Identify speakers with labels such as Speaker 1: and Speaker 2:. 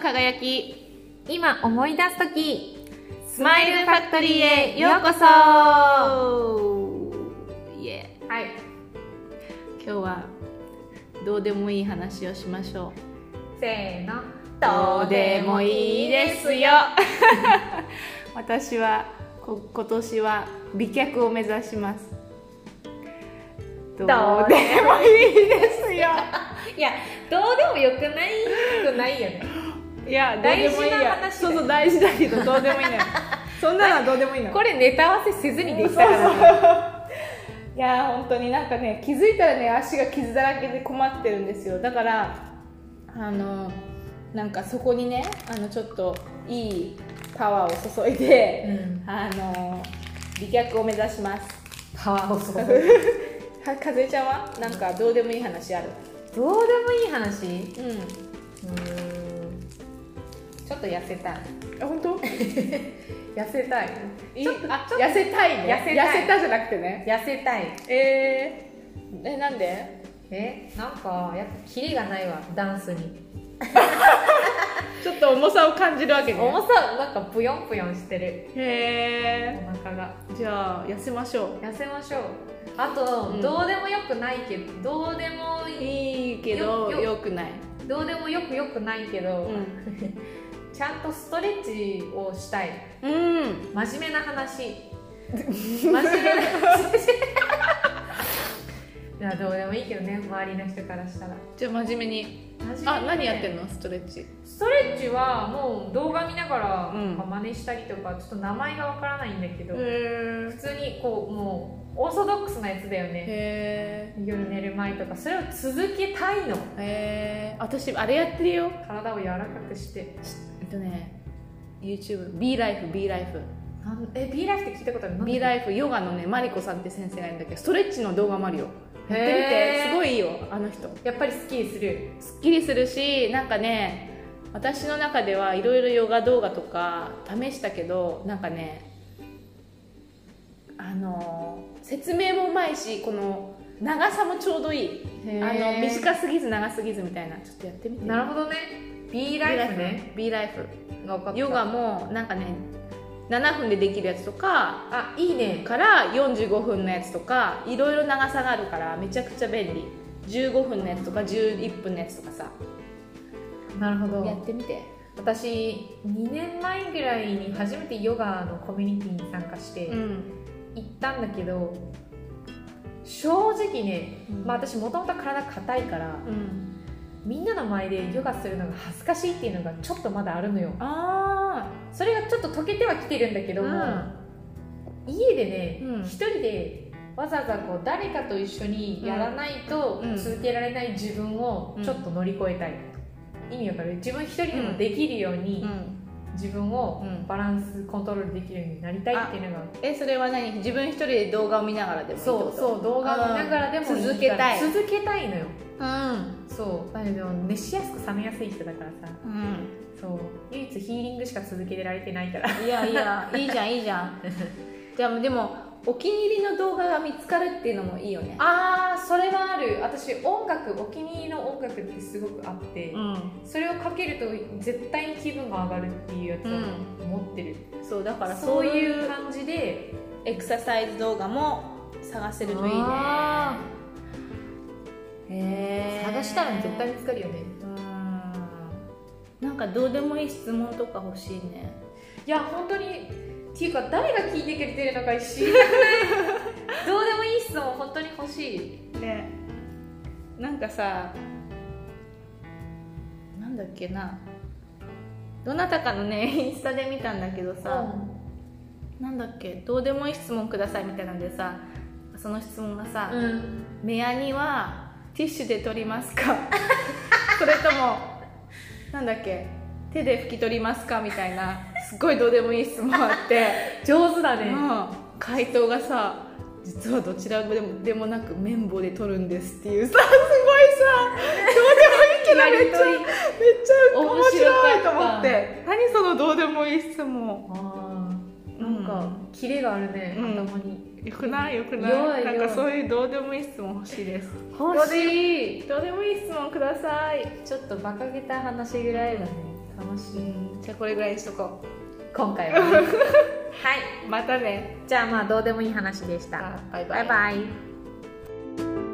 Speaker 1: 輝き
Speaker 2: 今思い出すとき、
Speaker 1: スマイルファクトリーへようこそイエー
Speaker 2: はい。
Speaker 1: 今日はどうでもいい話をしましょう
Speaker 2: せーの。
Speaker 1: どうでもいいですよ私はこ今年は美脚を目指しますどうで
Speaker 2: どう
Speaker 1: もいいですよ
Speaker 2: いや、どうでもよくないくないよね。
Speaker 1: いやどうでもいい
Speaker 2: 大事な
Speaker 1: や
Speaker 2: 話だよ
Speaker 1: そうそう大事だけどどうでもい いのよそんなのはどうでもいいのよ
Speaker 2: これネタ合わせせずにできた
Speaker 1: そう
Speaker 2: か
Speaker 1: そう
Speaker 2: ら。
Speaker 1: いやー本当になんかね気づいたらね足が傷だらけで困ってるんですよだからあのなんかそこにねあのちょっといいパワーを注いで、
Speaker 2: うん
Speaker 1: あの美脚を目指します
Speaker 2: パワー放送。
Speaker 1: はかずえちゃんはなんかどうでもいい話ある
Speaker 2: どうでもいい
Speaker 1: う
Speaker 2: 話う
Speaker 1: ん
Speaker 2: ーん。ちょっと痩せたい。
Speaker 1: あ本当
Speaker 2: 痩せたい。
Speaker 1: いい
Speaker 2: ちょっと
Speaker 1: あ
Speaker 2: ちょっと
Speaker 1: 痩せたいね
Speaker 2: 痩せたい
Speaker 1: 痩せたじゃなくてね
Speaker 2: 痩せたい。
Speaker 1: えー、えなんで
Speaker 2: え、なんか、やっぱキリがないわ、ダンスに。
Speaker 1: ちょっと重さを感じるわけね
Speaker 2: 重さ、なんかぷよんぷよんしてる。
Speaker 1: へ
Speaker 2: お腹が。
Speaker 1: ーじゃあ痩せましょう
Speaker 2: 痩せましょうあと、
Speaker 1: うん
Speaker 2: どうでもよくないけどどうでもいい
Speaker 1: いいけど
Speaker 2: よよ
Speaker 1: よくない、
Speaker 2: どうでもよくよくないけど、
Speaker 1: う
Speaker 2: ちゃんとストレッチをしたい
Speaker 1: ん、うん、
Speaker 2: 真面目な 話真面目な話 いやどうでもいいけどね周りの人からしたら
Speaker 1: じゃあ真面目にあ
Speaker 2: あ
Speaker 1: 何やってん
Speaker 2: の
Speaker 1: のストレッチ
Speaker 2: ストレッチはもう動画見ながら、
Speaker 1: うん
Speaker 2: 真似したりとかちょっと名前がわからないんだけど、
Speaker 1: へ
Speaker 2: 普通にこうもうオーソドックスなやつだよね
Speaker 1: え
Speaker 2: 夜寝る前とかそれを続けたいの
Speaker 1: え私あれやってるよ
Speaker 2: 体を柔らかくして
Speaker 1: えっとね YouTube B ライフ B ライフ
Speaker 2: なんえ B ライフって聞いたことある
Speaker 1: B
Speaker 2: イ
Speaker 1: ライフヨガのねマリコさんって先生がいるんだけどストレッチの動画もあるよやってみ
Speaker 2: へ
Speaker 1: て
Speaker 2: ー
Speaker 1: すごいいいよあの人
Speaker 2: フやっぱりスッキリする
Speaker 1: すっきりするしなんかね私の中ではいろいろヨガ動画とか試したけどなんかねあの説明もうまいしこの長さもちょうどいいあの短すぎず長すぎずみたいなちょっとやってみて
Speaker 2: なるほどね B ライフね
Speaker 1: B ライフ
Speaker 2: が分かった
Speaker 1: ヨガもなんかね7分でできるやつとか
Speaker 2: あいいね
Speaker 1: から45分のやつとかいろいろ長さがあるからめちゃくちゃ便利15分のやつとか11分のやつとかさ
Speaker 2: なるほ
Speaker 1: や
Speaker 2: ど
Speaker 1: ってみて
Speaker 2: 私2年前ぐらいに初めてヨガのコミュニティに参加して
Speaker 1: うん
Speaker 2: 行ったんだけど正直ね、
Speaker 1: うん
Speaker 2: まあ、私もともと体硬いから
Speaker 1: うん、
Speaker 2: みんなの前でヨガするのが恥ずかしいっていうのがちょっとまだあるのよ
Speaker 1: あ
Speaker 2: それがちょっと溶けてはきてるんだけ
Speaker 1: ー
Speaker 2: ども、家でね一、
Speaker 1: うん
Speaker 2: 人でわざわざこう誰かと一緒にやらないと
Speaker 1: うん
Speaker 2: 続けられない自分をちょっと乗り越えたい、意味わかる自分一人でもできるように、
Speaker 1: うん、
Speaker 2: 自分を
Speaker 1: うん
Speaker 2: バランスコントロールできるようになりたいっていうのが
Speaker 1: えそれは何自分一人で動画を見ながらでもいいって
Speaker 2: そ
Speaker 1: こ
Speaker 2: う
Speaker 1: と
Speaker 2: そう動画を見ながらでもいいから
Speaker 1: 続けたい
Speaker 2: 続けたいのよ
Speaker 1: うん
Speaker 2: そうだけど熱しやすく冷めやすい人だからさ
Speaker 1: うん
Speaker 2: そう唯一ヒーリングしか続けてられてないから
Speaker 1: いやいやいいじゃんいいじゃん じゃあでもお気に入りの動画が見つかるっていうのもいいよね
Speaker 2: あーそれはある私音楽お気に入りの音楽ってすごくあって、
Speaker 1: うん
Speaker 2: それをかけると絶対に気分が上がるっていうやつを持ってる、
Speaker 1: そうだから
Speaker 2: そ
Speaker 1: そううい
Speaker 2: いう
Speaker 1: う
Speaker 2: 感じで
Speaker 1: エクササイズ動画も探せるといいね
Speaker 2: あ
Speaker 1: へえ
Speaker 2: 探したら絶対見つかるよね
Speaker 1: うんなんかどうでもいい質問とか欲しいね
Speaker 2: いや本当にっていうか誰が聞いてくれてるのか知りたくない どうでもいい質問本当に欲しい
Speaker 1: ねなんかさなんだっけなどなたかのね インスタで見たんだけどさ、なんだっけどうでもいい質問くださいみたいなんでさその質問がさ
Speaker 2: う、ん
Speaker 1: 目やにはティッシュで取りますかそれともなんだっけ手で拭き取りますかみたいなすっごいどうでもいい質問あって、
Speaker 2: 上手だ
Speaker 1: う
Speaker 2: ね、
Speaker 1: ん、回答がさ実はどちらでもでもなく綿棒で取るんですっていうさすご いさどうでもいいけどめっちゃめっ
Speaker 2: やりとり
Speaker 1: ちゃ面白いと思っ
Speaker 2: 面
Speaker 1: て何そのどうでもいい質問
Speaker 2: あーなんか、キレがあるね、
Speaker 1: うん
Speaker 2: 頭に
Speaker 1: よくないよくない
Speaker 2: 弱い
Speaker 1: なん
Speaker 2: 弱
Speaker 1: か
Speaker 2: い
Speaker 1: そういうどうでもいい質問欲しいです
Speaker 2: 欲しい
Speaker 1: どうでもいい質問ください
Speaker 2: ちょっと馬鹿げた話ぐらいだね楽し
Speaker 1: う
Speaker 2: い
Speaker 1: んじゃあこれぐらいにしとこ
Speaker 2: 今回はねはいう
Speaker 1: またね
Speaker 2: じゃあまあどうでもいい話でした
Speaker 1: あバイバイ
Speaker 2: バイバイ